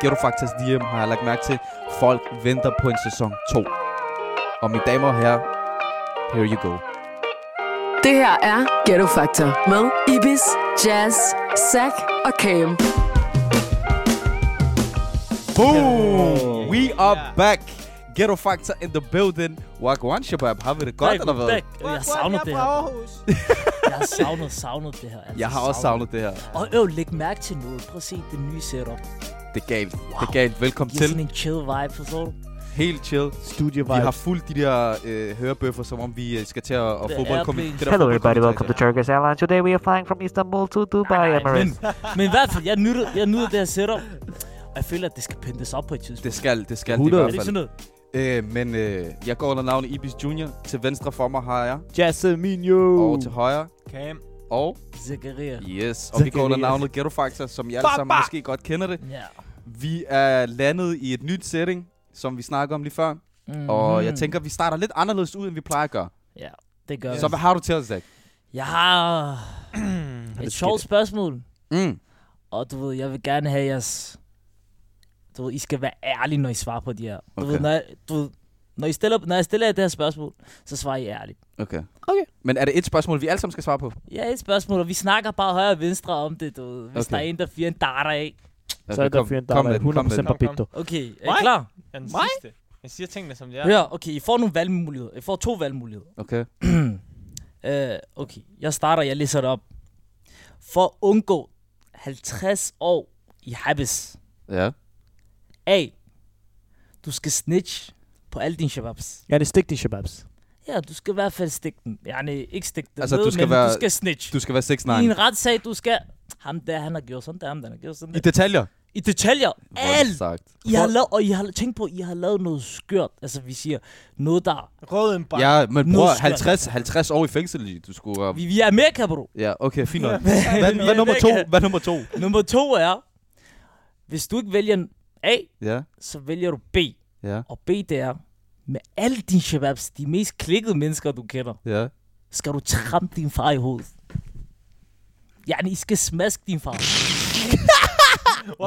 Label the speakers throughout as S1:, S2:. S1: Ghetto Factors DM har jeg lagt mærke til. Folk venter på en sæson 2. Og mine damer og herrer, here you go.
S2: Det her er Ghetto Factor med Ibis, Jazz, Zack og Cam.
S1: Boom! We are back. Ghetto Factor in the building. Wagwan Shabab, har vi det godt, eller hvad?
S3: Back. Jeg savner det her. Jeg har savnet, savnet det her. Altså,
S1: Jeg har også savnet det her.
S3: Og øv, læg mærke til noget. Prøv at se det nye setup.
S1: Det er galt. Det er galt. Velkommen
S3: Giv sådan
S1: til.
S3: en chill vibe, forstår du?
S1: Helt chill.
S4: Studio
S1: Vi har
S4: vibes.
S1: fuldt de der øh, hørebøffer, som om vi øh, skal til at at
S3: The
S1: fodboldkommentere.
S3: airplanes.
S1: det der
S5: Hello, everybody. Welcome to
S1: fodboldkommentar-
S5: Turkish Airlines. Today we are flying from Istanbul to Dubai
S3: men,
S5: Emirates.
S3: men i hvert fald, jeg nyder, jeg nyder det her setup. Og jeg føler, at det skal pyntes op på et tidspunkt.
S1: Det skal, det skal det i
S4: 100.
S3: er
S1: hvert
S3: det ikke
S1: fald.
S3: sådan
S1: Øh,
S3: noget?
S1: men øh, jeg går under navnet Ibis Junior. Til venstre for mig har jeg,
S4: Jasminio.
S5: Uh.
S1: og til højre,
S6: Cam.
S1: og
S3: Zakaria.
S1: yes. Og vi går under
S4: Zacharias.
S1: navnet Ghetto Factor, som I alle sammen måske godt kender det.
S3: Ja.
S1: Vi er landet i et nyt setting, som vi snakkede om lige før.
S3: Mm-hmm.
S1: Og jeg tænker, vi starter lidt anderledes ud, end vi plejer at gøre.
S3: Ja, det gør
S1: Så
S3: vi.
S1: hvad har du til os, Zach?
S3: Jeg har et sjovt spørgsmål.
S1: Mm.
S3: Og du ved, jeg vil gerne have jeres... Du ved, I skal være ærlige, når I svarer på de her. Du
S1: Okay.
S3: ved, når jeg, du ved, når, I stiller, når jeg stiller jer det her spørgsmål, så svarer I ærligt.
S1: Okay. okay. Men er det et spørgsmål, vi alle sammen skal svare på?
S3: Ja, et spørgsmål, og vi snakker bare højre og venstre om det, du ved. Hvis
S1: Okay.
S3: okay. der er en, der fyrer en darter af.
S1: Okay,
S4: Så er der
S1: kom-
S4: fyren, der
S1: kom
S4: er
S1: med den, kom med
S4: 100%
S1: den.
S4: papito.
S3: Okay, er I
S6: Mig?
S3: klar?
S6: Er den
S3: Mig?
S6: sidste. Jeg siger tingene, som de er.
S3: Ja. Hør, okay, I får nogle valgmuligheder. I får to valgmuligheder.
S1: Okay.
S3: Øh, okay, jeg starter, jeg læser det op. For at undgå 50 år i habis.
S1: Ja.
S3: A. Du skal snitch på alle dine shababs.
S4: Ja, det er stik din shababs.
S3: Ja, du skal i hvert fald stikke den. Ja, nej, ikke stikke den
S1: Altså,
S3: ned,
S1: du skal
S3: men
S1: være-
S3: du skal snitch.
S1: Du skal være 6
S3: I en retssag, du skal... Ham der, han har gjort sådan der, ham der, han har gjort sådan
S1: I
S3: der.
S1: detaljer.
S3: I detaljer. Alt.
S1: Sagt.
S3: I har lavet, og I har tænkt på, at I har lavet noget skørt. Altså, vi siger noget, der...
S6: Rød en bank.
S1: Ja, men
S3: Nu
S1: bror,
S3: skal-
S1: 50, 50 år i fængsel, du skulle... Uh...
S3: Vi, vi er Amerika, bro.
S1: Ja, okay, fint nok. Hvad, hvad, nummer to? Hvad nummer to?
S3: Nummer to er, hvis du ikke vælger A,
S1: Ja,
S3: så vælger du B.
S1: ja,
S3: Og B, det er, med alle dine shababs, de mest klikkede mennesker, du kender,
S1: ja.
S3: skal du trampe din far i hovedet. Ja, I skal smaske din far.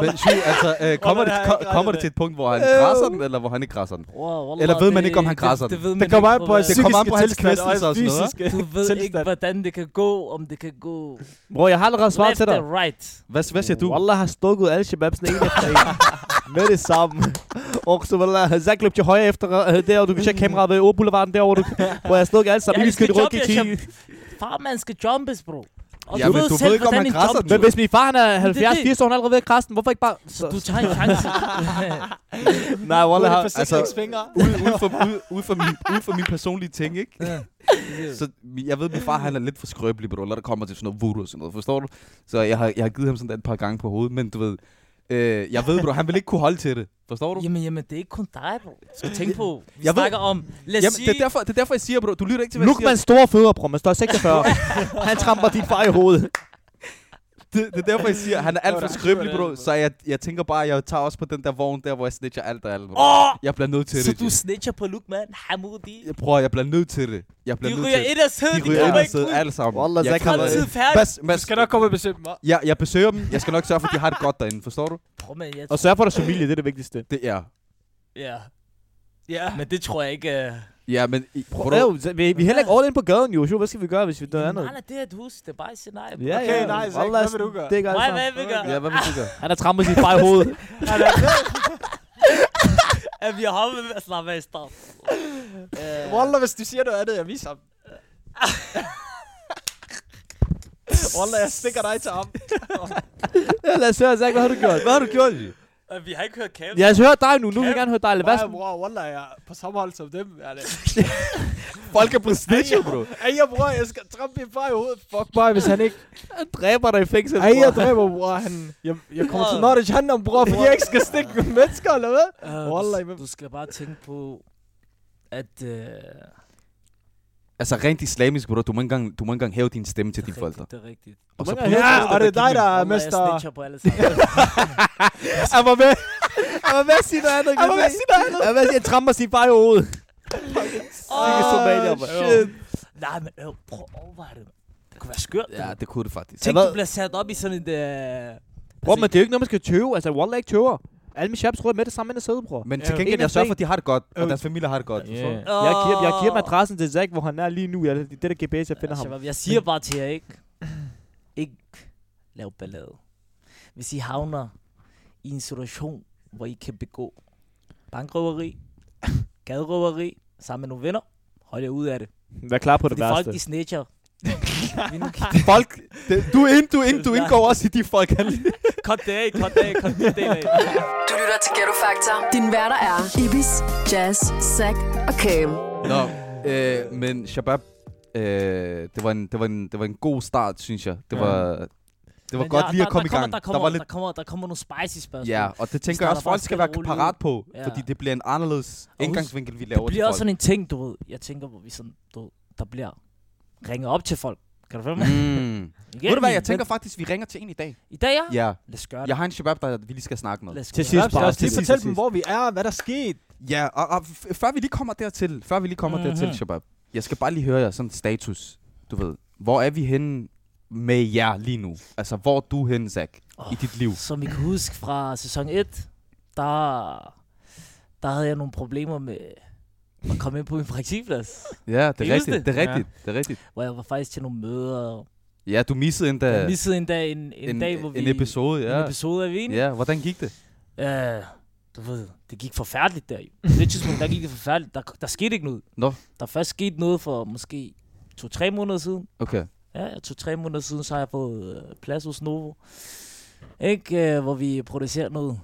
S1: Men Shu, altså, øh, kommer,
S6: Wallah,
S1: det,
S6: jeg har
S1: ko-
S6: ikke
S1: kommer
S6: regnet
S1: det til
S6: det.
S1: et punkt, hvor han græsser den, eller hvor han ikke græsser den?
S3: Wow, wallah,
S1: Eller ved man ikke, om han græsser den?
S3: Det, det ved man
S4: Det kommer
S3: ikke,
S4: an på hans
S1: Det kommer an på
S4: psykiske
S1: hans
S4: tilstand og
S1: kvæstelser og
S4: hans
S1: sådan noget,
S4: fysiske
S3: Du ved ikke,
S4: tilstand.
S3: hvordan det kan gå, om det kan gå
S4: Bror, jeg har allerede svaret
S3: left
S4: til dig.
S3: and right.
S1: Hvad, hvad siger du?
S4: Wallah har stukket alle shababsene en efter en. Med det samme. Og så Wallah, Zach løb til højre efter øh, der, og du kan tjekke kameraet ved Åboulevarden derovre. Du, hvor jeg stukket alle sammen.
S3: Ja,
S4: Ja,
S3: vi
S4: vi
S3: skal
S4: kørte rundt i
S3: jumpe,
S4: 10.
S3: jeg Far, man skal jumpes, bro. Og
S1: Ja, men du ved ikke, om
S3: hvordan
S1: han
S3: en
S1: græsser
S3: jump-
S1: den.
S4: Men hvis min far han er
S3: det-
S4: 70, 80 år, han er allerede ved at krasse den, hvorfor ikke bare...
S3: Så du tager en chance.
S4: Nej, Wallah har...
S6: forsikringsfingre.
S1: altså, Ude, ude, for, ude, ude, for min, ude for min personlige ting, ikke? Så mi- jeg ved, min far han er lidt for skrøbelig, bro, når der kommer til sådan noget voodoo og sådan noget, forstår du? Så jeg har, jeg har givet ham sådan et par gange på hovedet, men du ved, øh, jeg ved, bro, han vil ikke kunne holde til det, forstår du?
S3: jamen, jamen, det er ikke kun dig, bro. Du skal tænke på, vi
S1: Jeg ved-
S3: snakker om, lad os
S1: Jamen,
S3: sige,
S1: det, er derfor, det er derfor, jeg siger, bro, du lytter ikke til, hvad jeg siger.
S4: Lukmans store fødder, bror, man står 46. han tramper din far i hovedet.
S1: Det, det er derfor, jeg siger, han er alt
S6: Det
S1: for
S6: var da-
S1: skrøbelig,
S6: det var da-
S1: bro. Så jeg, jeg tænker bare, jeg tager også på den der vogn der, hvor jeg snitcher alt og alt. Bro.
S3: åh,
S1: Jeg bliver nødt til
S3: så
S1: det.
S3: du
S1: Jay.
S3: snitcher på Lukman, Hamoudi.
S1: Jeg prøver, jeg bliver nødt til det. Jeg
S3: De
S1: bliver nødt
S3: ryger
S1: til det.
S3: ind og sidder,
S1: De
S3: de
S1: ryger ind
S3: kommer
S1: og
S3: ikke ud.
S1: sidder alle sammen.
S4: Wallah,
S1: jeg
S4: Zach har
S1: kan-
S4: været-
S3: Fremtid færdig.
S1: Bas,
S6: Du
S1: Bas,
S6: skal nok komme og besøge mig.
S1: jeg, jeg besøger dem. Jeg skal nok sørge for, at de har det godt derinde, forstår du?
S3: Prøv, men jeg,
S4: Og sørg for deres familie, det er det vigtigste.
S1: Det er.
S3: ja.
S6: Ja.
S3: Men det tror jeg ikke... Uh...
S1: Ja, men... i-
S4: Bro,
S1: Bro,
S4: vi, vi, er heller ikke all in på gaden, jo. Jo, Hvad skal vi gøre, hvis vi dør andet?
S3: Nej, nej, det er et hus. Det er bare et scenarie. bro.
S4: Ja,
S6: Okay,
S4: ja.
S6: nej, Zach,
S4: Wallah,
S6: hvad vil du gøre?
S4: Det
S3: Nej,
S4: er altså.
S3: hvad vi gør?
S1: ja, hvad vil du gøre?
S4: Han har trampet sin far i hovedet.
S6: Han er
S3: At vi har hoppet med at slappe af i start. Øh,
S6: Wallah, hvis du siger noget andet, jeg viser ham. Wallah, jeg stikker dig til ham.
S4: Ja, lad os høre, Zach, hvad har du gjort?
S1: Hvad har du gjort, Jay?
S3: at vi har ikke hørt kæft.
S4: Jeg hører dig nu. Nu vil jeg gerne høre dig. Lad
S6: Hvad?
S4: være sådan-
S6: Bror, Wallah, jeg er på samme hold som dem. Er det?
S1: Folk er blevet snitchet, bro.
S6: Ej, jeg bror, jeg skal trampe min far i hovedet. Fuck mig, hvis han ikke...
S4: Han dræber dig i fængsel,
S6: Ej, jeg
S4: bror.
S6: dræber, bror. Han... Jeg, jeg kommer til
S3: Bror.
S6: Nordic Handel, bror, fordi jeg ikke skal stikke med mennesker, eller hvad?
S3: Øh,
S6: Wallah,
S3: du,
S6: hvem-
S3: du skal bare tænke på, at... Øh,
S1: Altså, rent islamisk, bro. Du må ikke engang, du må ikke engang hæve din stemme til dine forældre.
S3: rigtigt, det er rigtigt.
S1: Og så
S4: må ikke
S1: pludselig
S4: engang
S6: Ja,
S1: er
S6: og det er dig, der er
S3: Wallah, jeg
S6: mester...
S3: snitcher på alle sammen.
S4: Han var med. Han var med at sige noget andet.
S6: Han var ved at sige noget andet.
S4: Han var med at sige, at han tramper sin far i hovedet. Sikke somalier,
S6: Åh,
S4: mand.
S6: shit.
S3: Nej, men øh, prøv at overveje det. man. Det kunne være skørt.
S1: Ja, det kunne det faktisk.
S3: Tænk,
S4: hvad-
S3: du bliver sat op i sådan et... Øh,
S4: Bro, men det er jo ikke noget, man skal tøve. Altså, Wallah er ikke tøver. Alle mine shabs rører med det samme end sæde, bror.
S1: Men til
S6: Ja.
S1: gengæld,
S4: En af
S1: jeg sørger for,
S4: sten.
S1: at de har det godt, og
S6: Øh.
S1: deres familie har det godt.
S7: Ja.
S1: Yeah.
S4: Jeg giver, jeg giver mig adressen til Zack, hvor han er lige nu. Jeg, det er det GPS, jeg finder
S3: Altså,
S4: ham.
S3: Shabab, Jeg siger bare til jer, ikke? Ikke lav ballade. Hvis I havner i en situation, hvor I kan begå bankrøveri, gaderøveri, sammen med nogle venner, hold jer ud af det.
S4: Vær klar på det
S3: Fordi folk,
S4: værste.
S3: de snitcher. Vi nu-
S1: Folk, det, du, ind, du, ind, du indgår også i de folk. Han
S3: Cut det af, cut det af, cut det af.
S2: Du lytter til Ghetto Factor. Din værter er Ibis, Jazz, Zack og Cam.
S1: Nå, øh, men Shabab, øh, det, var en, det, var en, det var en god start, synes jeg. Det var, det var
S3: Men
S1: godt
S3: der-
S1: lige
S3: der-
S1: at komme
S3: der
S1: i gang.
S3: Kommer, der, kommer,
S1: var
S3: der, kommer, der kommer nogle spicy spørgsmål.
S1: Ja, og det tænker jeg
S3: starter
S1: også, folk
S3: bare
S1: skal
S3: stille
S1: være
S3: og roligt ud.
S1: parat på,
S3: Ja.
S1: fordi det bliver en anderledes
S3: husk,
S1: indgangsvinkel, vi
S3: Det
S1: laver til
S3: bliver også
S1: folk.
S3: sådan en ting, du ved, jeg tænker, hvor vi sådan, du ved, der bliver ringet op til folk. Kan du følge mig?
S1: Mm.
S3: Igen,
S1: Ved du hvad, jeg
S3: men-
S1: tænker faktisk, vi ringer til en i dag.
S3: I dag, ja?
S1: Ja,
S3: Lad os gøre det.
S1: jeg har en Shabab, der vi lige skal snakke med.
S3: Lad os
S4: Til
S3: gøre
S4: sidst.
S6: Lad os- lad os
S4: Til
S6: lige
S4: sidst,
S6: fortælle
S4: til
S6: dem,
S4: sidst.
S6: hvor vi er, og hvad der skete.
S1: Ja, og, og f- før vi lige kommer dertil, før vi lige kommer
S3: Mhm.
S1: mm-hmm. dertil, Shabab, jeg skal bare lige høre jer sådan status, du ved. Hvor er vi henne med jer lige nu? Altså, hvor er du henne, Zach, oh. i dit liv?
S3: Som I kan huske fra sæson 1, der, der havde jeg nogle problemer med at komme ind på min praktikplads,
S1: Ja,
S3: Kan
S1: det
S3: I
S1: er
S3: huske
S1: rigtigt, det? er
S7: det?
S1: rigtigt, det er rigtigt.
S3: hvor jeg var faktisk til nogle møder.
S1: Ja, du missede endda
S3: Jeg missede en dag, en, en, en dag, hvor vi...
S1: Øh, en episode, ja.
S3: En episode af Vien.
S1: Ja, hvordan gik det?
S3: Øh, du ved, det gik forfærdeligt der. jo. På det tidspunkt, der gik det forfærdeligt. Der, der skete ikke noget.
S1: Nå.
S3: Der først skete noget for måske to-tre måneder siden.
S1: Okay.
S3: Ja, to-tre måneder siden, så har jeg fået øh, plads hos Novo. Ikke, øh, hvor vi producerer noget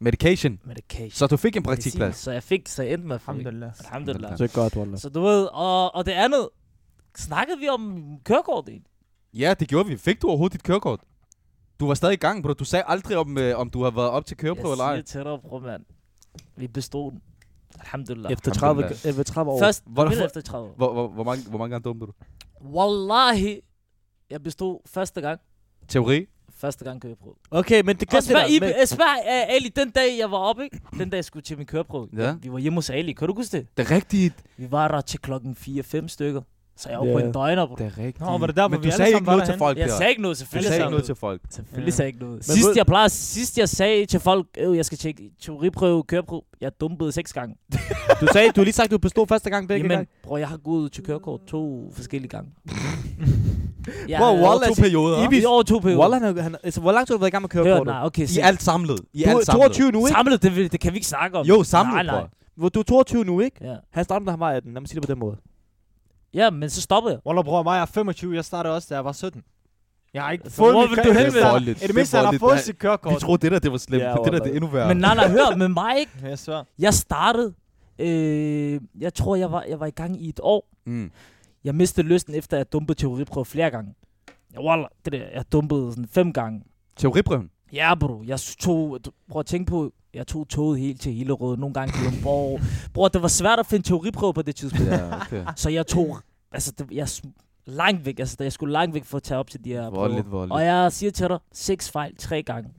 S1: Medication.
S3: medication.
S1: Så du fik en praktikplads?
S3: Så jeg fik, så jeg endte med at få det.
S6: Alhamdulillah.
S3: Alhamdulillah.
S4: Så godt, Wallah.
S3: Så du ved, og, og det andet, snakkede vi om kørekort egentlig?
S1: Ja, det gjorde vi. Fik du overhovedet dit kørekort? Du var stadig i gang, bro. Du sagde aldrig, om, øh, om du har været op til køreprøve eller
S3: Jeg
S1: ej.
S3: siger til dig, bror mand. Vi bestod den. Alhamdulillah.
S4: Efter 30,
S1: Alhamdulillah.
S4: 11, 30 år.
S3: Først,
S1: Hvornår-
S3: midt efter 30 år.
S1: Hvor, hvor, hvor, mange, hvor mange gange dumpede du?
S3: Wallahi, jeg bestod første gang.
S1: Teori?
S3: Første gang køreprøve.
S4: Okay, men det
S3: Og
S4: glemte
S3: spørg,
S4: jeg.
S3: I,
S4: men-
S3: øh, spørg uh, Ali, den dag jeg var oppe, ikke? den dag jeg skulle til min køreprøve.
S1: Ja.
S3: Vi var hjemme hos Ali, kan du huske det?
S1: Det er rigtigt.
S3: Vi var der til klokken 4-5 stykker. Så jeg var på
S4: Ja.
S3: en døgner, bro.
S1: Det er rigtigt.
S7: Nå, var det der, hvor
S1: Men
S7: vi
S1: du
S7: alle
S1: sagde
S7: sammen
S1: ikke
S7: var
S1: noget til
S7: derhenne?
S1: folk
S3: Jeg
S1: der.
S3: sagde ikke noget,
S1: Du
S3: selvfølgelig.
S1: sagde ikke
S3: jeg
S1: noget til folk.
S3: Selvfølgelig
S7: Ja.
S3: sagde jeg ikke noget.
S4: Men
S3: Sidst
S4: ved-
S3: jeg, plejer, sidst jeg sagde til folk, øh, jeg skal tjekke teoriprøve, køreprøve, jeg dumpede seks gange.
S4: Du sagde, du har lige sagt, du bestod første gang begge
S3: Jamen,
S4: gange.
S3: bror, jeg har gået til kørekort to forskellige gange. jeg
S4: Bro,
S3: har-
S4: Wallah, altså,
S1: To perioder.
S3: I
S1: hva'?
S3: er over to perioder.
S4: Wallah, han, er- han, altså, hvor langt har du været i gang med
S3: Hør,
S4: kørekortet?
S3: nej, okay.
S1: I
S3: Så,
S1: alt samlet. I
S4: Du
S1: alt
S4: er
S1: samlet.
S4: 22 nu, ikke?
S3: samlet, det, vil- det kan vi ikke snakke om.
S1: Jo, samlet,
S3: Nej, nej.
S1: bror.
S4: Hvor Du er 22 nu, ikke?
S3: Ja.
S4: Han startede, da han var 18. Lad mig sige det på den måde.
S3: ja, men så stoppede jeg.
S6: Wallah, bror, mig jeg er 25, jeg startede også, da jeg var 17. Jeg har ikke
S3: Så
S6: fået
S3: hvor
S6: mit
S3: vil du
S6: kørekort.
S3: hen med
S6: Jeg-
S1: voldeligt.
S6: I det
S1: Det er
S6: mindste, han har
S1: voldeligt.
S6: fået
S1: Det er-
S6: sit
S1: Vi
S6: kørekort.
S1: troede, det der det var slemt,
S4: Ja,
S1: ja, men det der
S4: Wallah.
S1: det er endnu værre.
S3: Men nej, nej, hør, med mig ikke.
S6: Jeg svær.
S3: Jeg startede, øh, jeg tror, jeg var, jeg var i gang i et år.
S1: mm.
S3: Jeg mistede lysten efter, at jeg dumpede teoriprøve flere gange. Ja, Wallah, det der, jeg dumpede sådan fem gange.
S1: Teoriprøven.
S3: Ja, bro. Jeg tog... du- Prøv at tænke på... Jeg tog toget helt til Hillerød, nogle gange til Lomborg. Bror, det var svært at finde teoriprøver på det tidspunkt.
S1: Ja, okay.
S3: Så jeg tog... Altså, det, jeg sm- langt væk. Altså, jeg skulle langt væk for at tage op til de her prøver.
S1: Voldeligt, voldeligt.
S3: Og jeg siger til dig, seks fejl tre gange.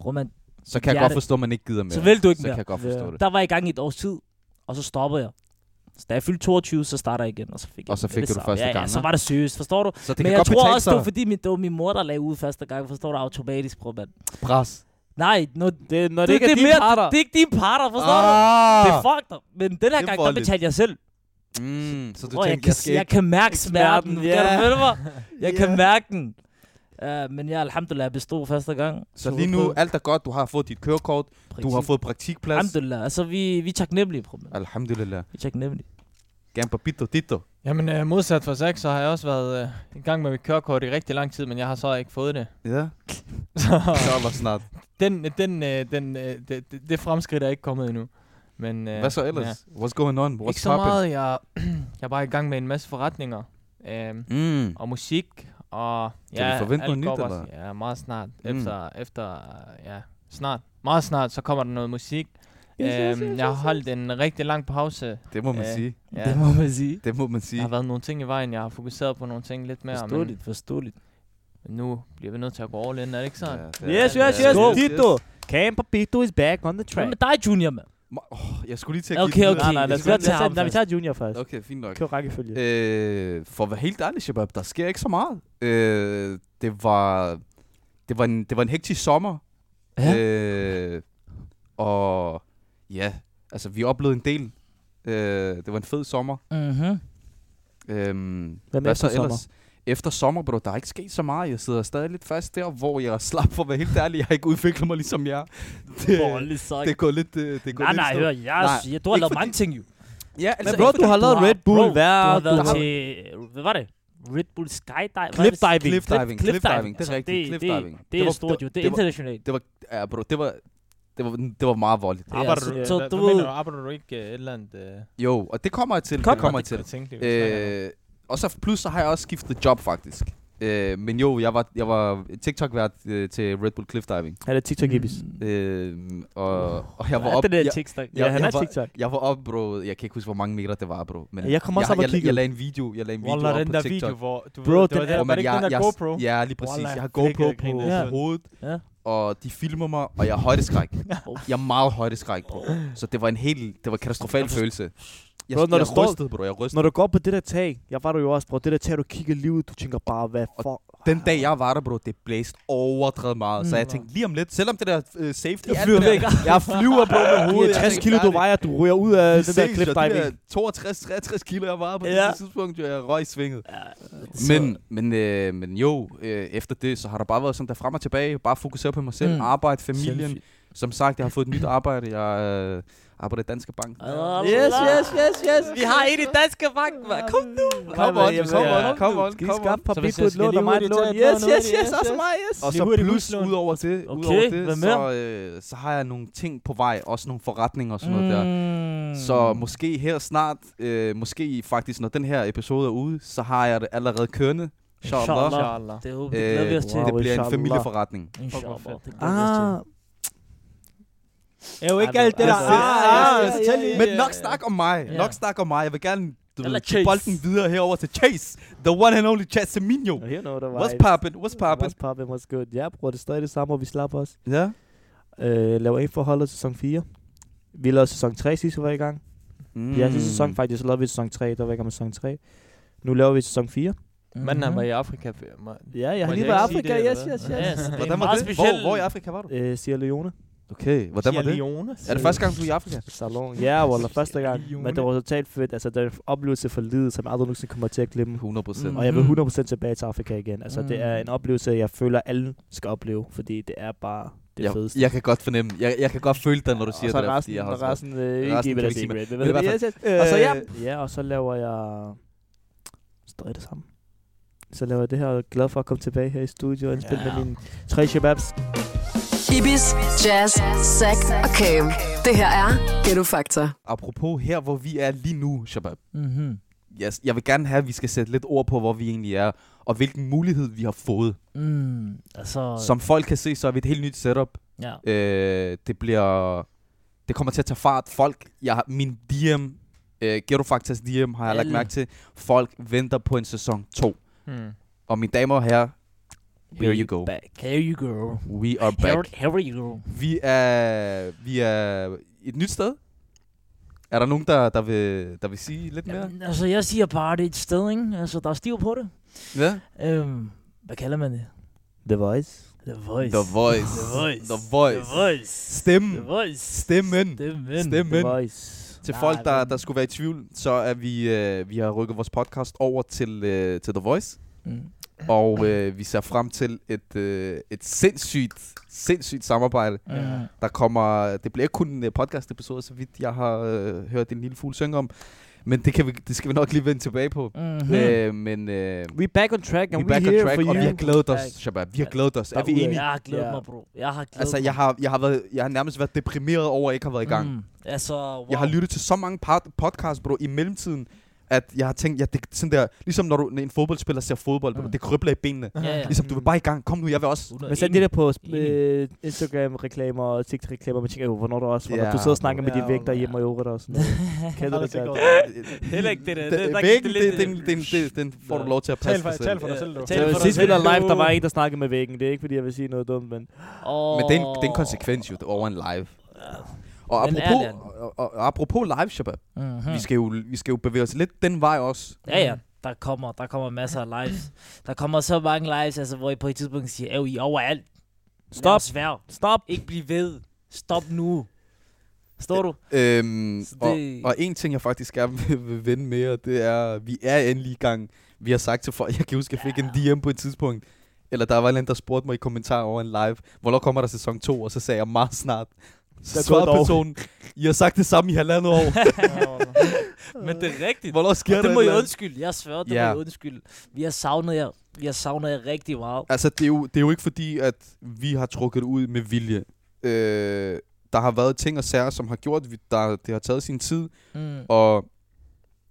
S3: Bror, man,
S1: Så kan jeg
S3: Hjerte.
S1: godt forstå, at man ikke gider mere.
S3: så vil du ikke
S1: Så kan
S3: mere.
S1: jeg godt forstå det.
S3: Der var jeg i gang i et års tid, og så stoppede jeg. Så da jeg fyldte 22, så starter jeg igen, og så fik jeg
S1: Og så
S3: med
S1: fik
S3: det
S1: du det
S3: samme.
S1: første
S3: ja, ja,
S1: gang,
S3: så
S1: hva'?
S3: var det seriøst, forstår du?
S1: Så det
S3: Men
S1: kan
S3: jeg
S1: godt
S3: tror
S1: betale
S3: også, det var
S1: sig.
S3: fordi min, det var min mor, der lagde ud første gang, forstår du, automatisk, bror, mand.
S1: Pres.
S3: Nej, når,
S4: Det, når det,
S3: det,
S4: ikke er,
S3: det,
S4: dine
S3: mere,
S4: parter...
S3: det er ikke dine parter, forstår ah. du?
S1: Ah!
S3: Det er fucked up. Men den her
S1: Det er
S3: gang, der
S1: voldeligt.
S3: betalte jeg selv.
S1: Mm, så du
S3: Bror, jeg,
S1: tænkte,
S3: kan,
S1: jeg skal
S3: jeg
S1: ikke...
S3: kan mærke smerten.
S4: smerten,
S3: Yeah. Kan du
S4: ja.
S3: følge mig? Jeg kan
S4: Ja.
S3: mærke den. Uh, men jeg, alhamdulillah, jeg bestod første gang.
S1: Så lige nu, alt er godt. Du har fået dit kørekort. Du har fået praktikplads.
S3: Alhamdulillah. Altså, vi, vi er taknemmelige, bror. mand.
S1: Alhamdulillah.
S3: Vi er taknemmelige.
S1: Gerne på bito dito.
S7: Jamen øh, modsat for Zack, så har jeg også været øh, i gang med mit kørekort i rigtig lang tid, men jeg har så ikke fået det.
S1: Ja. Så
S7: Så
S1: er der snart.
S7: den, øh, den, øh, den, øh, det, det- det fremskridt er ikke kommet endnu. Men, øh,
S1: Hvad så ellers?
S7: Ja.
S1: What's going on? What's
S7: Ikke så
S1: poppin'?
S7: meget. Jeg, jeg er bare i gang med en masse forretninger. Øh,
S1: Mm.
S7: og musik. Og,
S1: Kan vi forvente
S7: alt
S1: noget nyt,
S7: går bare-
S1: eller?
S7: Ja, meget snart.
S1: Mm.
S7: Efter, efter, øh, ja, snart. Meget snart, så kommer der noget musik. Øhm, jeg har holdt en rigtig lang pause.
S1: Det må man
S7: Ja.
S1: sige.
S7: Ja.
S3: Det må man sige.
S1: Det må man
S7: Der
S1: sige.
S7: har været nogle ting i vejen, jeg har fokuseret på nogle ting lidt mere.
S3: Forståeligt, forståeligt.
S7: Men nu bliver vi nødt til at gå all in, er det ikke sådan?
S1: det er-
S4: Yes, yes,
S1: Ja,
S4: yes.
S1: yes,
S4: Dito.
S1: yes.
S4: Camp og Bito is back on the
S3: Hvad
S4: track.
S3: med dig, Junior, mand?
S1: Ma- Åh, jeg skulle lige til at
S3: Okay,
S1: give den
S3: okay.
S1: videre.
S3: Nej, nej, lad os
S1: Jeg
S3: tage ham
S4: Nej, vi
S3: først.
S4: tager Junior først.
S1: skulle- Okay, fint nok.
S4: Kør rækkefølge.
S1: Øh, for at være helt ærlig, Shabab, der sker ikke så meget. Øh, det var det var en, det var en hektisk sommer.
S3: Ja.
S1: Øh, og ja, altså vi oplevede en del. Øh, det var en fed sommer.
S3: Mm-hmm.
S1: Øhm,
S4: Hvad med efter sommer?
S1: Efter sommer, bro, der er ikke sket så meget. Jeg sidder stadig lidt fast der, hvor jeg er slap for at være helt ærlig. Jeg har ikke udviklet mig ligesom jer. Det,
S3: Bolle, så.
S1: det går lidt... øh, Det går
S3: Nej,
S1: lidt
S3: nej,
S1: sådan-
S3: hør, jeg
S1: Nej,
S3: siger, du har
S1: ikke
S3: lavet mange ting jo.
S1: Ja,
S4: Men
S1: altså,
S4: bro,
S1: ikke
S4: du har lavet Red Bull
S3: bro,
S4: hver...
S3: Du har
S4: du
S3: været
S4: har-
S3: til, hvad var det? Red Bull Skydive?
S4: Cliffdiving.
S1: Cliff diving, cliff diving, det
S3: Altså,
S1: er rigtigt, cliff diving.
S3: Det, det er
S1: var-
S3: stort jo, det er
S1: det var-
S3: internationalt.
S1: Det var, ja, bro, det var, det var, det var meget voldeligt.
S3: Ja,
S7: Arbejder
S3: så-
S7: du,
S3: altså- så
S7: så,
S3: du
S7: du mener
S3: ved-
S7: du, arbejder du ikke øh, et eller andet... Øh,
S1: Jo, og det kommer jeg til,
S3: Kom,
S1: det kommer jeg til.
S7: jeg tænkte, lige, vi snakker om?
S1: Øh, og så plus, så har jeg også skiftet job, faktisk. Øh, men jo, jeg var, jeg var TikTok-vært øh, til Red Bull Cliff Diving.
S4: Ja, det er TikTok-hippies.
S1: Øh, og, og jeg var
S3: Hvad er
S1: op...
S3: Mm. det der
S1: jeg,
S3: TikTok?
S4: Ja, han
S1: jeg
S4: er
S1: var-
S4: TikTok.
S1: jeg var op, bro. Jeg kan ikke huske, hvor mange meter det var, bro. Men
S4: Jeg kommer også
S1: jeg,
S4: op og
S1: jeg, jeg,
S4: kiggede.
S1: lagde en video, jeg lagde en video
S7: Wallah,
S1: Øh, op
S7: den
S1: på
S7: der
S1: TikTok.
S7: video, hvor... Du
S4: Bro,
S7: ved, det
S4: den
S7: var
S4: er-
S7: der, var det ikke den der GoPro?
S1: Ja, lige præcis.
S7: Wallah,
S1: Jeg har
S7: flækkede
S1: GoPro
S7: jeg
S1: på,
S7: griner.
S1: på hovedet,
S3: Ja.
S1: og de filmer mig, og jeg er højdeskræk.
S3: Oh.
S1: Jeg er meget højdeskræk, bro. Så det var en helt, det var en katastrofal følelse. Jeg,
S4: Bro, når
S1: jeg
S4: du står-
S1: rystede, bro. Jeg rystede.
S4: Når du går på det der tag, jeg var der jo også, bro, det der tag, du kigger lige ud, du tænker bare, hvad for...
S1: Den dag jeg var der, bro, det blæste overdrevet meget. Mm, så jeg tænkte lige om lidt, selvom det der uh, safety... alt
S4: flyver
S1: det der-
S4: væk.
S1: Jeg flyver, bro, med
S4: Du er
S1: hovedet.
S4: 60 kilo, du vejer, du ryger ud af den der cliff diving.
S1: 62-63 kilo, jeg var på
S3: Ja.
S1: ja. det tidspunkt, jo, jeg røg i svinget.
S3: Så-
S1: Men, men, øh, men jo, øh, efter det, så har der bare været sådan der frem og tilbage. Bare fokusere på mig selv,
S3: Mm.
S1: mm. arbejde, familien.
S3: Sindssygt.
S1: Som sagt, jeg har fået et nyt arbejde. Jeg øh, arbejder i Danske Bank.
S3: Ah, Yes, yes, yes, yes. Vi har en i Danske Bank, man. Kom nu.
S1: Kom on, kom on, kom on,
S4: Skal I
S1: kom on.
S4: skaffe
S7: Så
S4: papir
S7: hvis
S4: på
S7: jeg
S4: et
S7: skal
S4: lån og
S7: lige
S4: mig et
S7: hurtigt
S4: lån?
S7: tage et
S4: Yes,
S7: lån,
S4: yes,
S7: yes,
S4: yes,
S7: yes.
S4: også mig, yes.
S1: Og
S7: Lige
S1: så
S7: hurtigt
S1: plus,
S7: huslån.
S1: ud over det, ud
S3: Okay,
S1: over
S3: hvad
S1: det så, øh, så har jeg nogle ting på vej. Også nogle forretninger og sådan noget der.
S3: Mm.
S1: Så måske her snart, øh, måske faktisk når den her episode er ude, så har jeg det allerede kørende. Inshallah.
S3: Inshallah.
S7: Inshallah.
S3: Det håber vi glæder vi
S1: Øh,
S3: os til.
S4: Wow.
S1: det bliver en
S4: inshallah.
S1: familieforretning.
S3: Inshallah.
S7: fedt.
S3: Det glæder vi os til.
S4: Ah,
S7: Er jo ikke
S3: Ej,
S7: alt det
S3: men
S7: der...
S3: altså-
S7: Ah,
S4: Ja,
S7: ah,
S4: ja,
S7: så
S4: ja,
S7: tag
S4: ja,
S7: lige...
S1: Men nok snak om mig.
S3: Ja.
S1: Nok snak om mig. Jeg vil gerne du
S3: Eller
S1: ved,
S3: Chase.
S1: give bolden videre herover til Chase. The one and only Casemiro.
S4: you know the
S1: What's
S4: vibes.
S1: poppin'? What's poppin'?
S4: What's poppin', what's good. Ja, bror, det er stadig det samme, hvor vi slapper os.
S1: Ja.
S4: Øh, laver en forholdet sæson 4. Vi lavede sæson 3 sidste var i gang. Mm. Ja, sidste sæson faktisk, så lavede vi sæson 3, der var i gang med sæson 3. Nu laver vi sæson 4.
S7: Manden han var i
S1: Mhm.
S7: Afrika. Man.
S4: Ja, jeg har
S7: Må
S4: lige
S7: jeg
S4: været i
S7: ikke sige
S4: Afrika,
S7: det,
S4: yes,
S7: eller
S4: yes,
S7: hvad?
S4: yes.
S3: Yes. Det er
S1: Hvordan
S3: en
S1: var
S3: meget
S1: det?
S3: speciel...
S1: Hvor, hvor i Afrika var du?
S4: Øh, Sierra Leone.
S1: Okay, hvordan var det?
S7: Leone.
S1: Er det første gang, du er i Afrika?
S4: Salon. Ja, Walla, første
S7: Sierra
S4: gang. Men
S7: Leone.
S4: det var totalt fedt. Altså, det er en oplevelse for livet, som jeg aldrig nogensinde kommer til at glemme.
S1: 100 procent.
S3: Mm.
S4: Og jeg vil
S3: Mhm.
S4: 100% tilbage til Afrika igen. Altså, det er en oplevelse, jeg føler, alle skal opleve. Fordi det er bare det
S1: Jeg,
S4: fedeste.
S1: jeg kan godt fornemme. Jeg, jeg kan godt føle dig, når du siger
S4: og så
S1: det. der, fordi
S4: resten,
S1: jeg har
S4: og
S1: også-
S4: resten, øh, ikke
S1: resten
S4: give
S1: kan
S4: det
S1: ikke sige, men-
S4: secret.
S1: men i hvert fald-
S4: Og så ja.
S1: Øh,
S4: Ja, og så laver jeg stadig det samme. Så laver jeg det her, og er glad for at komme tilbage her i studio og indspille med mine tre shababs.
S2: Ibis, Jazz, Zack og Cam. Det her er Ghetto Factor.
S1: Apropos her, hvor vi er lige nu, Shabab.
S3: Mhm.
S1: Yes, jeg vil gerne have, at vi skal sætte lidt ord på, hvor vi egentlig er, og hvilken mulighed vi har fået.
S3: Mm, altså,
S1: Som folk kan se, så er vi et helt nyt setup.
S3: ja.
S1: Øh, det bliver... Det kommer til at tage fart. Folk, jeg, har- min DM, øh, Ghetto Factors DM, har jeg lagt
S3: Alle.
S1: mærke til. Folk venter på en sæson 2.
S7: Hmm.
S1: Og mine damer og herrer, here
S3: We
S1: you go.
S3: Back. Here you go.
S1: We are
S3: Here,
S1: back.
S3: here you go.
S1: Vi er, vi er et nyt sted. Er der nogen, der, der, vil, der vil sige lidt mere?
S3: Jamen, altså, jeg siger bare, det er et sted, ikke? Altså, der er stiv på det.
S1: Ja.
S3: Øhm, hvad kalder man det?
S4: The Voice.
S3: The Voice.
S1: The Voice.
S3: The Voice.
S1: The Voice.
S3: The Voice.
S1: Stemmen.
S3: The Voice.
S1: Stemmen.
S3: Stemmen.
S1: Stemmen.
S4: The
S1: Men-
S4: Voice.
S1: Til
S3: Nej,
S1: folk, der,
S3: men-
S1: der skulle være i tvivl, så er vi, øh, vi har rykket vores podcast over til, øh, til The Voice.
S3: Mm.
S1: Og øh, vi ser frem til et, øh, et sindssygt, sindssygt samarbejde.
S3: Mm.
S1: Der kommer, det bliver ikke kun en podcast episode, så vidt jeg har øh, hørt en lille fugl synge om. Men det, kan vi, det skal vi nok lige vende tilbage på.
S3: Mm-hmm.
S1: Mm. Øh, men øh,
S4: We back on track,
S1: vi
S4: and
S1: er
S4: we
S1: back on
S4: here
S1: track,
S4: for
S1: og vi
S4: you.
S1: har glædet
S3: Tak.
S1: os, Shabab. Vi har glædet os. Er vi
S4: Derudad.
S1: enige?
S3: Jeg har glædet
S4: Ja.
S3: mig, bro. Jeg har glædet
S1: Altså,
S3: mig.
S1: jeg har, jeg, har været, jeg har nærmest været deprimeret over, at jeg ikke har været i gang.
S3: Mm. Altså, wow.
S1: Jeg har lyttet til så mange pod- podcasts, bro, i mellemtiden, at jeg har tænkt, ja, det er sådan der, ligesom når du, når en fodboldspiller ser fodbold, bro,
S3: Mm.
S1: det krybler i benene.
S3: Ja, ja.
S1: Ligesom, du vil bare i gang. Kom nu, jeg vil også.
S4: Men så er det der på øh, Instagram-reklamer og TikTok-reklamer, man tænker, jo, hvornår er der også, hvornår
S1: Ja,
S4: du sidder og snakker med
S7: bro.
S4: de væk derhjemme og i øvrigt og sådan noget. Kender det godt.
S7: Heller ikke det der.
S1: Det, det,
S7: der-
S1: væggen,
S7: det er lidt-
S1: det, den, den, den, den får du
S7: Nå.
S1: lov til at passe
S7: Tal for,
S1: for selv.
S7: tal for dig selv, du.
S3: Tal for dig
S4: Sidst vi
S3: selv.
S4: lavede live, der var en, der snakkede med væggen. Det er ikke, fordi jeg vil sige noget dumt, men...
S3: Oh.
S1: Men den, den konsekvens jo, det er over en live. Og
S3: Men
S1: apropos,
S3: ærligt.
S1: og, og, og apropos live, Shabab,
S3: Mm-hmm.
S1: vi, skal jo, vi skal jo bevæge os lidt den vej også.
S3: Ja, ja. Der kommer, der kommer masser af lives. Der kommer så mange lives, altså, hvor I på et tidspunkt siger, at I er overalt.
S4: Stop.
S3: Svær.
S4: Stop.
S3: Ikke blive ved. Stop nu. Står du?
S1: Øhm,
S3: Så
S1: og,
S3: det-
S1: og en ting, jeg faktisk gerne vil, vil vende med, og det er, vi er endelig i gang. Vi har sagt til folk, jeg kan huske, jeg fik en DM på et tidspunkt, eller der var en eller anden, der spurgte mig i kommentarer over en live, hvornår kommer der sæson 2, og så sagde jeg meget snart.
S4: Der
S1: Så
S4: er gået et
S1: svarede
S4: år.
S1: personen, I har sagt det samme i halvandet år.
S3: Men det er rigtigt.
S1: Hvornår
S3: Og
S1: sker der
S3: det må
S1: et
S3: I
S1: eller andet?
S3: undskylde. Jeg svær, det
S1: Ja.
S3: må I undskylde. Vi har savnet jer. Vi har savnet jer rigtig meget.
S1: Altså, det er, jo, det er jo ikke fordi, at vi har trukket det ud med vilje. Øh, der har været ting og sager, som har gjort, vi- der, det har taget sin tid,
S3: Mm.
S1: Og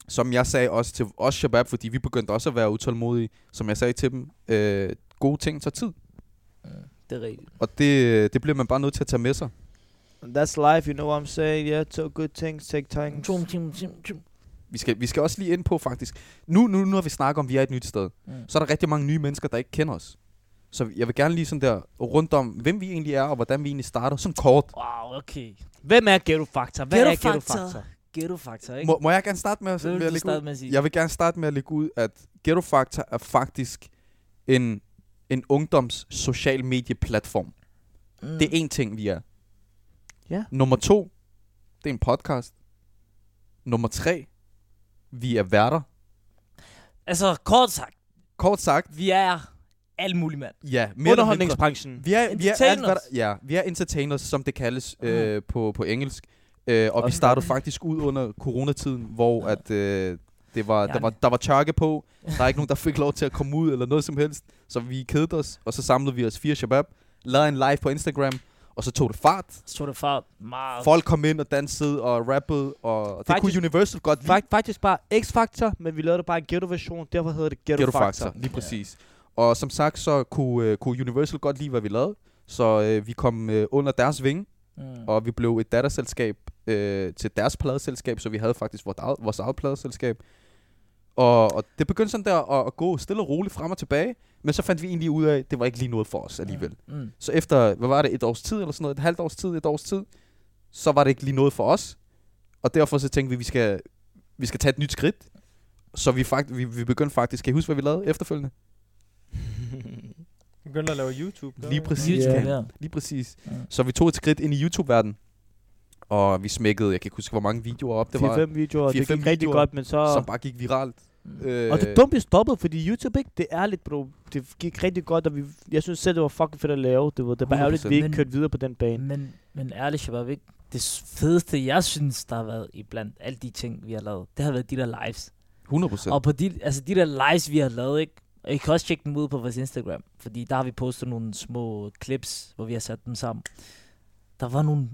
S1: som jeg sagde også til os Shabab, fordi vi begyndte også at være utålmodige, som jeg sagde til dem, øh, gode ting tager tid.
S3: Det er rigtigt.
S1: Og det, det bliver man bare nødt til at tage med sig.
S4: That's life, you know what I'm saying? Yeah, so good things take time.
S3: Tjum, tjum, tjum, tjum.
S1: Vi skal, vi skal også lige ind på faktisk. Nu, nu, nu har vi snakket om, at vi er et nyt sted.
S3: Mm.
S1: Så er der rigtig mange nye mennesker, der ikke kender os. Så jeg vil gerne lige sådan der rundt om, hvem vi egentlig er, og hvordan vi egentlig starter, sådan kort.
S3: Wow, okay.
S4: Hvem er Ghetto Factor? Hvad
S3: Ghetto
S4: er Ghetto
S3: Factor?
S4: Factor?
S3: Ghetto Factor, ikke?
S1: Må, må jeg gerne starte med, at-
S3: Hvad
S1: med
S3: vil
S1: at
S3: du
S1: lægge ud?
S3: starte med at sige?
S1: Jeg vil gerne starte med at lægge ud, at Ghetto Factor er faktisk en, en ungdoms social medieplatform.
S3: Mm.
S1: Det er én ting, vi er.
S4: Ja.
S1: Nummer to, det er en podcast. Nummer tre, vi er værter.
S3: Altså, kort sagt,
S1: Kort sagt,
S3: vi er alt muligt, mand.
S1: ja. Mere eller mindre.
S4: Underholdningsbranchen.
S1: Vi er, vi er alt, hvad
S3: Entertainers.
S1: der, ja, vi er entertainers, som det kaldes
S3: Mhm.
S1: øh, på, på engelsk. Øh, og vi
S3: Og-
S1: startede faktisk ud under coronatiden, hvor
S3: Ja.
S1: at, øh, det var, der,
S3: Jamen.
S1: var, der var tørke på. Der er ikke nogen, der fik lov til at komme ud eller noget som helst. Så vi kedede os, og så samlede vi os fire shabab, lavede en live på Instagram, og så tog det fart.
S3: Så det fart meget.
S1: Folk kom ind og dansede og rappede, og det
S4: Faktisk-
S1: kunne Universal godt lide.
S4: Fakt, faktisk bare X-Factor, men vi lavede det bare en ghetto-version, derfor hedder det Ghetto,
S1: Ghetto
S4: Factor.
S1: Factor, lige præcis. Og som sagt, så kunne, øh, kunne Universal godt lide, hvad vi lavede. Så øh, vi kom øh, under deres vinge,
S3: Mm.
S1: og vi blev et datterselskab øh, til deres pladeselskab, så vi havde faktisk vores eget, vores eget pladeselskab. Og, og det begyndte sådan der at, at gå stille og roligt frem og tilbage, men så fandt vi egentlig ud af, at det var ikke lige noget for os alligevel.
S3: Mm.
S1: Så efter, hvad var det, et års tid eller sådan noget, et halvt års tid, et års tid, så var det ikke lige noget for os. Og derfor så tænkte vi, vi skal, vi skal tage et nyt skridt. Så vi, fakt, vi, vi begyndte faktisk, kan I huske, hvad vi lavede efterfølgende?
S7: Begyndte at lave YouTube.
S1: Lige præcis.
S3: YouTube,
S1: Yeah.
S3: ja.
S1: Lige præcis.
S3: Ja.
S1: Så vi tog et skridt ind i YouTube-verdenen, og vi smækkede, jeg kan ikke huske, hvor mange videoer op det var,
S4: 4-5 videoer, og det
S1: 4-5
S4: gik rigtig
S1: videoer,
S4: godt, men så...
S1: som bare gik viralt. Øh,
S4: Og det er dumt, vi stoppede, fordi YouTube ikke, det er lidt, bro. Det gik rigtig godt, og vi, jeg synes selv, det var fucking fedt at lave. Det var, det er bare ærgerligt, at vi
S1: 100%.
S4: ikke kørte videre på den bane.
S3: Øh, Men, men ærligt, Shabab, ikke? det fedeste, jeg synes, der har været i blandt alle de ting, vi har lavet, det har været de der lives.
S1: 100
S3: Ja.
S1: øh, procent.
S3: Og på de, altså de der lives, vi har lavet, ikke? Og I kan også tjekke dem ud på vores Instagram, fordi der har vi postet nogle små clips, hvor vi har sat dem sammen. Der var nogle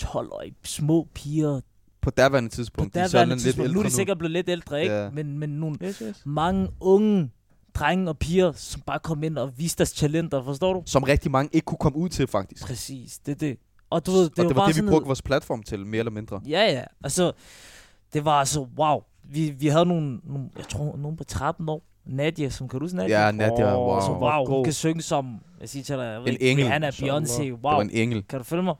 S3: 12-årige små piger,
S1: På daværende
S3: på
S1: tidspunkt. de er sådan
S3: derværende tidspunkt. Nu er de sikkert blevet lidt ældre, ikke?
S1: Ja.
S3: Men, men nogle
S4: Yes, yes.
S3: mange unge drenge og piger, som bare kom ind og viste deres talenter, forstår du?
S1: Som rigtig mange ikke kunne komme ud til, faktisk.
S3: Præcis, det er det. Og du ved, det,
S1: og det var
S3: bare
S1: det, vi
S3: sådan
S1: brugte vores platform til, mere eller mindre.
S3: noget, Ja, ja. Altså, det var altså, wow. Vi, vi havde nogle, nogle, jeg tror, nogen på 13 år. Nadia, som kan du huske Nadia?
S1: Ja, Nadia,
S4: Åh,
S1: wow.
S3: Som,
S1: Det
S3: wow, hun
S4: god.
S3: kan synge som, jeg siger til dig, jeg ved
S1: En
S3: ikke,
S1: engel.
S3: Rihanna,
S4: Som
S3: Beyoncé, wow.
S1: var en engel.
S3: Kan du følge mig?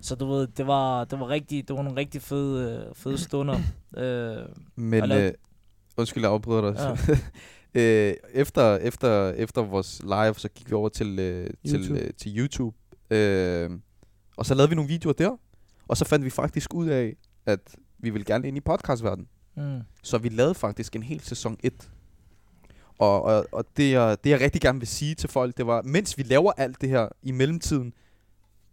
S3: Så du ved, det var, det var, rigtig, det var nogle rigtig fede, øh, fede stunder. øh, Og
S1: Men
S3: lavede-
S1: øh, undskyld, jeg afbryder dig.
S3: ja.
S1: øh, efter, efter, efter vores live, så gik vi over til, øh, til,
S4: YouTube.
S1: øh, til YouTube. Øh, og så lavede vi nogle videoer der. Og så fandt vi faktisk ud af, at vi ville gerne ind i podcastverdenen.
S3: Mm.
S1: Så vi lavede faktisk en hel sæson 1. Og, og, og det, jeg, det, jeg rigtig gerne vil sige til folk, det var, mens vi laver alt det her i mellemtiden,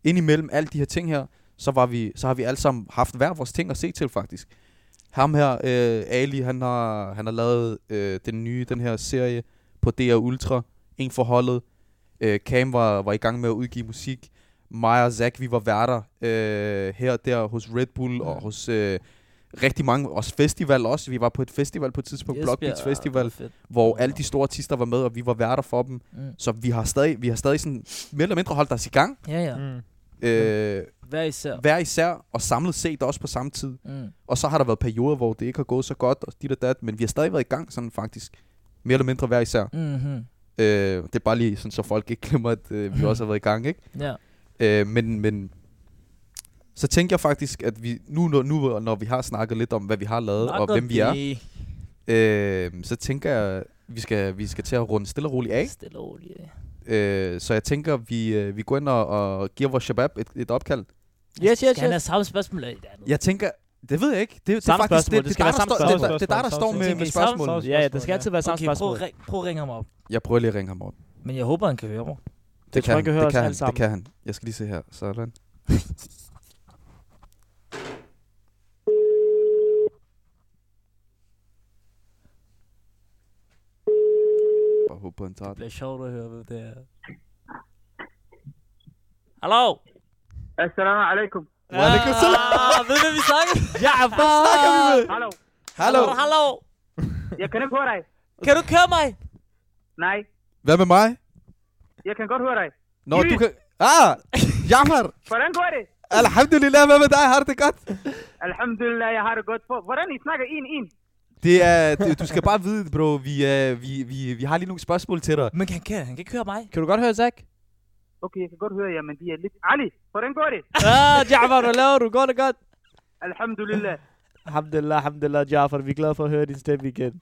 S1: indimellem alle de her ting her, så, var vi, så har vi alle sammen haft hver vores ting at se til, faktisk. Ham her, øh, Ali, han har, han har lavet øh, den nye, den her serie på DR Ultra, En for holdet. Øh, Cam var, var i gang med at udgive musik. Mig og Zach, vi var værter øh, her og der hos Red Bull og hos øh, rigtig mange, også festival også. Vi var på et festival på et tidspunkt, yes,
S3: Mm. Jesper,
S1: Blockbeats
S3: ja, det var
S1: Festival,
S3: fedt.
S1: hvor alle de store artister var med, og vi var værter for dem.
S3: Mm.
S1: Så vi har stadig, vi har stadig sådan, mere eller mindre holdt os i gang.
S3: Ja, ja.
S7: Mm.
S1: Øh,
S3: Hver især.
S1: hver især, og samlet set også på samme tid.
S3: Mm.
S1: Og så har der været perioder, hvor det ikke har gået så godt, og dit og dat, men vi har stadig været i gang sådan faktisk. Mere eller mindre hver især.
S3: Mm-hmm.
S1: Øh, det er bare lige sådan, så folk ikke glemmer, at øh, vi også har været i gang, ikke?
S3: Ja.
S1: Øh, men, men så tænker jeg faktisk, at vi nu, når, nu, når vi har snakket lidt om, hvad vi har lavet, og hvem vi er, Øhm, øh, så tænker jeg, vi skal, vi skal til at runde stille og roligt af.
S3: Stille og roligt.
S1: Øh, så jeg tænker, vi, øh, vi går ind og, og giver vores shabab et, et opkald.
S4: Yes, yes,
S3: Altså, Skal han
S4: yes.
S3: have samme spørgsmål eller et andet?
S1: Jeg tænker, det ved jeg ikke. Det, det er
S4: Samme
S1: faktisk
S4: spørgsmål.
S1: det,
S4: Det
S1: det,
S4: skal
S1: er
S4: være
S1: dig, der
S4: samme
S1: står- det, er
S4: spørgsmål.
S1: dig- det er dig, der står med,
S3: Tænker
S1: med
S3: I samme
S1: spørgsmålet.
S4: Ja, ja, der skal altid være samme
S3: okay, prøv,
S4: spørgsmål.
S3: at ring, prøv at ringe ham op.
S1: Jeg prøver lige at ringe ham op.
S3: Men jeg håber, han kan høre mig.
S4: Det tror
S1: han,
S4: jeg, jeg kan høre
S1: det
S4: os
S1: kan han,
S4: alle sammen.
S1: det kan han. Jeg skal lige se her. Sådan. Bare håbe på, han tager
S3: Det
S1: det.
S3: bliver sjovt at høre, hvem det er. Hallo?
S8: Assalamu alaikum.
S1: Walaikum salam.
S3: Ah, ved du, hvad vi snakker? Ja, hvad
S8: Hallo.
S1: Hallo!
S3: Hallo?
S8: Jeg kan ikke høre dig.
S3: Kan du køre mig?
S8: Nej,
S1: Hvad med mig?
S8: jeg kan godt høre dig.
S1: Nå, du kan... Ah! Jammer!
S8: Hvordan går det?
S1: Alhamdulillah, hvad med dig? Har du det godt?
S8: Alhamdulillah, jeg har det godt på. Hvordan I snakker en en?
S1: Det er, det, du skal bare vide, bro, vi, uh, vi, vi, vi har lige nogle spørgsmål til dig.
S3: Men han kan, han kan ikke høre mig.
S4: Kan du godt høre, Zach?
S8: Okay, jeg kan godt høre jer, men de er lidt... Ali, hvordan går det?
S4: ah, Jafar, hvad laver du? Går det godt?
S8: Alhamdulillah.
S4: Alhamdulillah, alhamdulillah, Jafar. Vi er glade for at høre din stemme igen.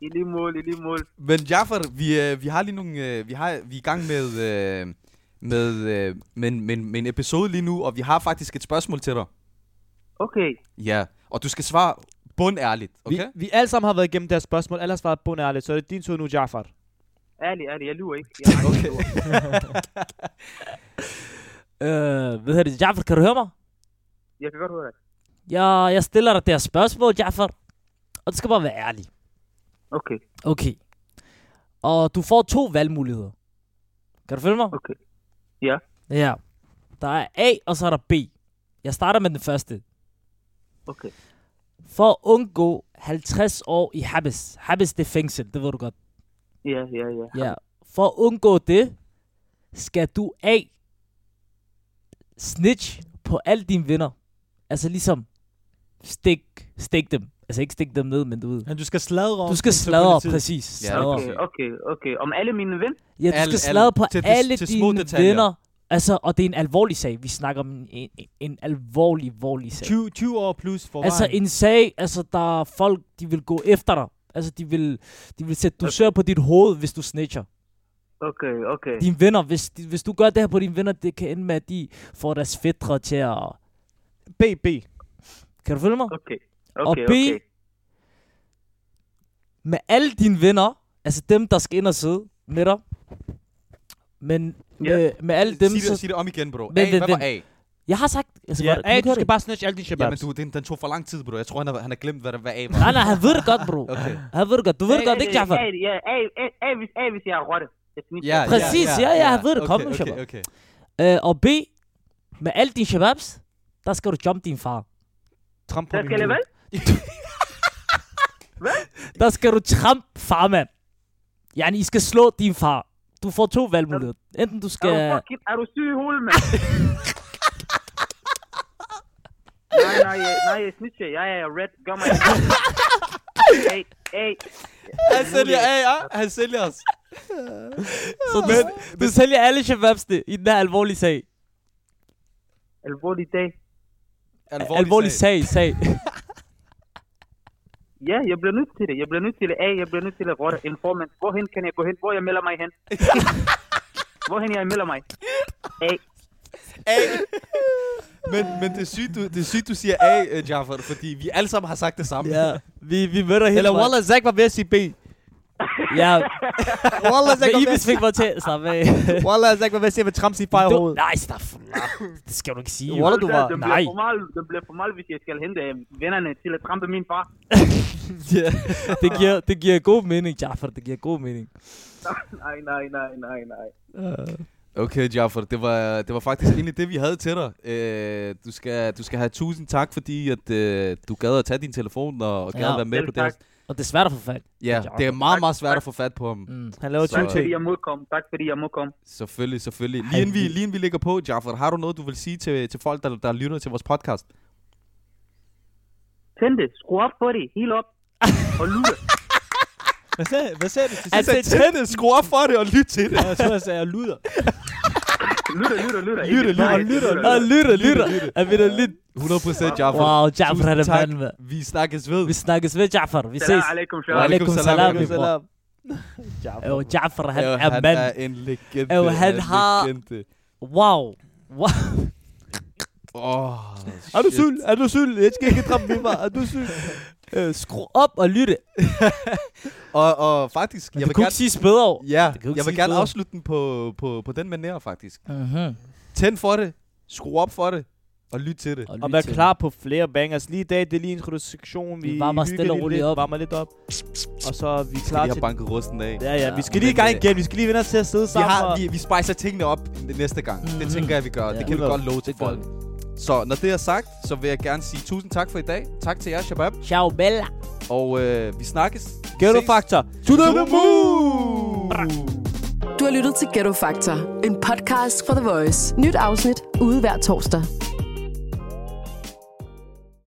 S8: I lige mål, i lige mål.
S1: Men Jaffer, vi, uh, vi har lige nogle, uh, vi, har, vi er i gang med, uh, med, uh, med, en- med, en- med, en episode lige nu, og vi har faktisk et spørgsmål til dig.
S8: Okay,
S1: Ja, og du skal svare bundærligt, okay?
S4: Vi, vi alle sammen har været igennem deres spørgsmål. Alle har svaret bundærligt, så er det din tur nu, Jafar.
S8: Ali, Ali, jeg lyver ikke. Jeg har okay.
S3: Øh, ved du, Jaffer, kan du høre mig?
S8: Jeg kan godt høre dig.
S3: Ja, jeg stiller dig det her spørgsmål, Jaffer. Og du skal bare være ærlig.
S8: Okay,
S3: Okay. Og du får to valgmuligheder. Kan du følge mig?
S8: okay. Ja.
S3: Ja. Der er A, og så er der B. Jeg starter med den første.
S8: Okay.
S3: For at undgå 50 år i Habes. Habes, det er fængsel, det ved du godt.
S8: Ja, ja, ja.
S3: Ja. For at undgå det, skal du A. Snitch på alle dine venner. Altså ligesom stik, stik dem. Altså ikke stik dem ned, men du ved.
S7: Men du skal sladre om
S3: Du skal
S7: den til
S3: sladre,
S7: politiet.
S3: præcis.
S1: Ja,
S3: Sladre.
S8: Okay, okay, okay. Om alle mine ven?
S3: Ja,
S1: Alle-
S3: du skal
S1: alle-
S3: sladre på
S1: til- til-
S3: alle
S1: til små
S3: dine
S1: detaljer.
S3: venner. Altså, og det er en alvorlig sag. Vi snakker om en, en, en alvorlig, alvorlig sag.
S7: 20, 20 år plus for
S3: Altså en sag, altså der er folk, de vil gå efter dig. Altså de vil, de vil sætte
S1: Altså-
S3: dusør på dit hoved, hvis du snitcher.
S8: Okay, okay.
S3: Dine venner, hvis, de, hvis du gør det her på dine venner, det kan ende med, at de får deres fædre til at...
S4: BB.
S3: Kan du følge mig?
S8: Okay,
S3: og
S8: okay,
S3: B,
S8: okay.
S3: med alle dine venner, altså dem, der skal ind og sidde med dig, men
S8: Ja.
S3: med, med alle dem,
S1: sig, det,
S3: så...
S1: sig det om igen, bro. A,
S3: Vent,
S1: hvad
S3: vent,
S1: var A?
S3: Jeg har sagt... Altså,
S4: Ja,
S3: var det-
S4: A,
S3: kan
S4: du
S3: høre
S4: skal
S3: det?
S4: bare snitche alle dine
S1: Jamen,
S4: shababs.
S1: du, den, den tog for lang tid, bro. Jeg tror, han har, han har glemt, hvad, der, hvad A var.
S3: Nej, nej, han ved det godt, bro.
S1: Okay.
S3: Han ved det godt. Du ved det godt, ikke, Jaffa?
S8: Ja, ja, ja. A, A, A, hvis, A, hvis jeg er rotte. Jeg snitcher.
S1: Ja,
S3: Præcis, ja, ja, jeg ved det. Kom nu,
S1: okay,
S3: Shabab.
S1: okay, okay.
S3: Øh, og B, med alle dine shababs, der skal du jump din far.
S4: Tramp på
S8: Der
S4: min
S8: skal jeg
S4: hud.
S8: hvad?
S3: Der skal du tramp farmand. Ja, I skal slå din far. Du får to valgmuligheder. Enten du
S8: Er
S3: skal...
S8: du fucking... Er du syg i hovedet, mand? nej, nej, jeg, nej, jeg snitcher. Jeg er red. Gør mig. hey, hey.
S1: Han sælger A, ja. Han sælger os.
S3: Så du, du sælger alle shababsene i den her alvorlige sag.
S8: Alvorlig dag.
S1: Alvorlig,
S3: Alvorlig sag, sag.
S8: Ja, jeg bliver nødt til det. Jeg bliver nødt til det. Hey, jeg bliver nødt til det. Rotte. Informant. Hvorhen kan jeg gå hen? Hvor jeg melder mig hen? Hvorhen jeg melder mig? Hey.
S1: Men, men det, er sygt, du, det er sygt, du siger A, øh, Jaffer, fordi vi alle sammen har sagt det samme.
S3: ja, vi, vi møder hele
S4: Eller Wallah, Zach var ved at sige B.
S3: Ja,
S4: Wallah, Zach var
S3: men
S4: ved
S3: Ibis fik mig til at slappe af.
S4: Wallah, Zach var ved at sige, at tramp sin far i
S3: Du,
S4: hovedet.
S3: nej, stop. Det skal du ikke sige. jo.
S4: Wallah, du var...
S8: Den bliver
S3: Nej.
S8: formal, den bliver formal, hvis jeg skal hente øh, vennerne til at trampe min far.
S3: Ja, det, giver, det giver god mening, Jaffer. Det giver god mening.
S8: Nej, nej, nej, nej, nej.
S1: Okay, Jaffer, det var, det var faktisk egentlig det, vi havde til dig. Øh, du, skal, du skal have tusind tak, fordi at, øh, du gad at tage din telefon og, og gad
S3: Ja,
S1: at være med
S8: selv
S1: på det her.
S8: tak.
S3: Og det er svært at få fat.
S1: Ja, det er meget, meget svært at få fat på ham.
S3: Mm.
S4: Han laver
S1: Så-
S4: 20
S8: Tak
S4: ting.
S8: fordi jeg må komme. Tak fordi jeg må komme.
S1: Selvfølgelig, selvfølgelig. Lige inden, vi, lige inden vi ligger på, Jaffer, har du noget, du vil sige til, til folk, der, der lytter til vores podcast?
S8: Tænd det. Skru op for det. Helt op. Og lure.
S7: Hvad sagde, hvad sagde du til
S3: Altså,
S7: sidst?
S1: Sæt tændet, skru op for det og lyt til det.
S7: Jeg tror, jeg sagde, jeg luder.
S8: Lytter, lytter, lytter.
S1: Lytter, lytter,
S8: Nej,
S1: lytter,
S3: Og lytter, lytter. Er vi da lidt?
S1: 100% Jaffer.
S3: Wow, Jaffer er
S1: Tusind
S3: det
S1: tak.
S3: mand, med.
S1: Vi snakkes ved.
S3: Vi snakkes ved, Jaffer. Vi ses.
S8: Salam alaikum,
S1: Wa
S8: Shah.
S1: alaikum
S3: Alaikum
S1: salam,
S3: salam,
S1: alaikum
S3: min bror. Og Jafar, han
S1: Jo,
S3: er
S1: Han
S3: mand.
S1: er en legende.
S3: Jo, han har-
S1: legende.
S3: Wow. wow.
S1: Åh,
S4: Er du
S1: shit.
S4: syg? Er du syg? Jeg skal ikke trappe mig. Er du syg?
S3: Øh, Skru op og lytte.
S1: Og, og faktisk, jeg
S3: Men det
S1: vil
S3: kunne ikke
S1: gerne...
S3: siges bedre.
S1: Ja,
S3: det kan jo ikke
S1: jeg vil
S3: siges
S1: gerne
S3: bedre.
S1: afslutte den på, på, på den manér, faktisk.
S3: Mm-hmm.
S1: Tænd for det, skru op for det, og lyt til det.
S4: Og vær klar på flere bangers. Lige i dag, det er lige en introduktion. Vi,
S3: Vi varmer
S4: hygger
S3: stille og
S4: lige
S3: roligt
S4: lidt,
S3: op.
S4: Varmer lidt op. Og så er vi
S1: Vi
S4: klar
S1: har
S4: til...
S1: banket rusten af.
S4: Ja, ja,
S3: Ja,
S4: vi skal lige i gang
S1: men, øh,
S4: igen. Vi skal lige vende os til at sidde
S1: Vi,
S4: sammen.
S1: har,
S4: og-
S1: vi, vi spicer tingene op n- næste gang. Det
S3: Mhm.
S1: tænker jeg, vi gør. Det
S3: Ja.
S1: kan vi
S4: Hundrede.
S1: godt love til folk. Så når det er sagt, så vil jeg gerne sige tusind tak for i dag. Tak til jer, Shabab.
S3: Ciao, Bella.
S1: Og øh, vi snakkes.
S4: Ghetto
S1: Ses.
S4: Factor.
S1: To the moon!
S2: Du har lyttet til Ghetto Factor, en podcast fra The Voice. Nyt afsnit ude hver torsdag.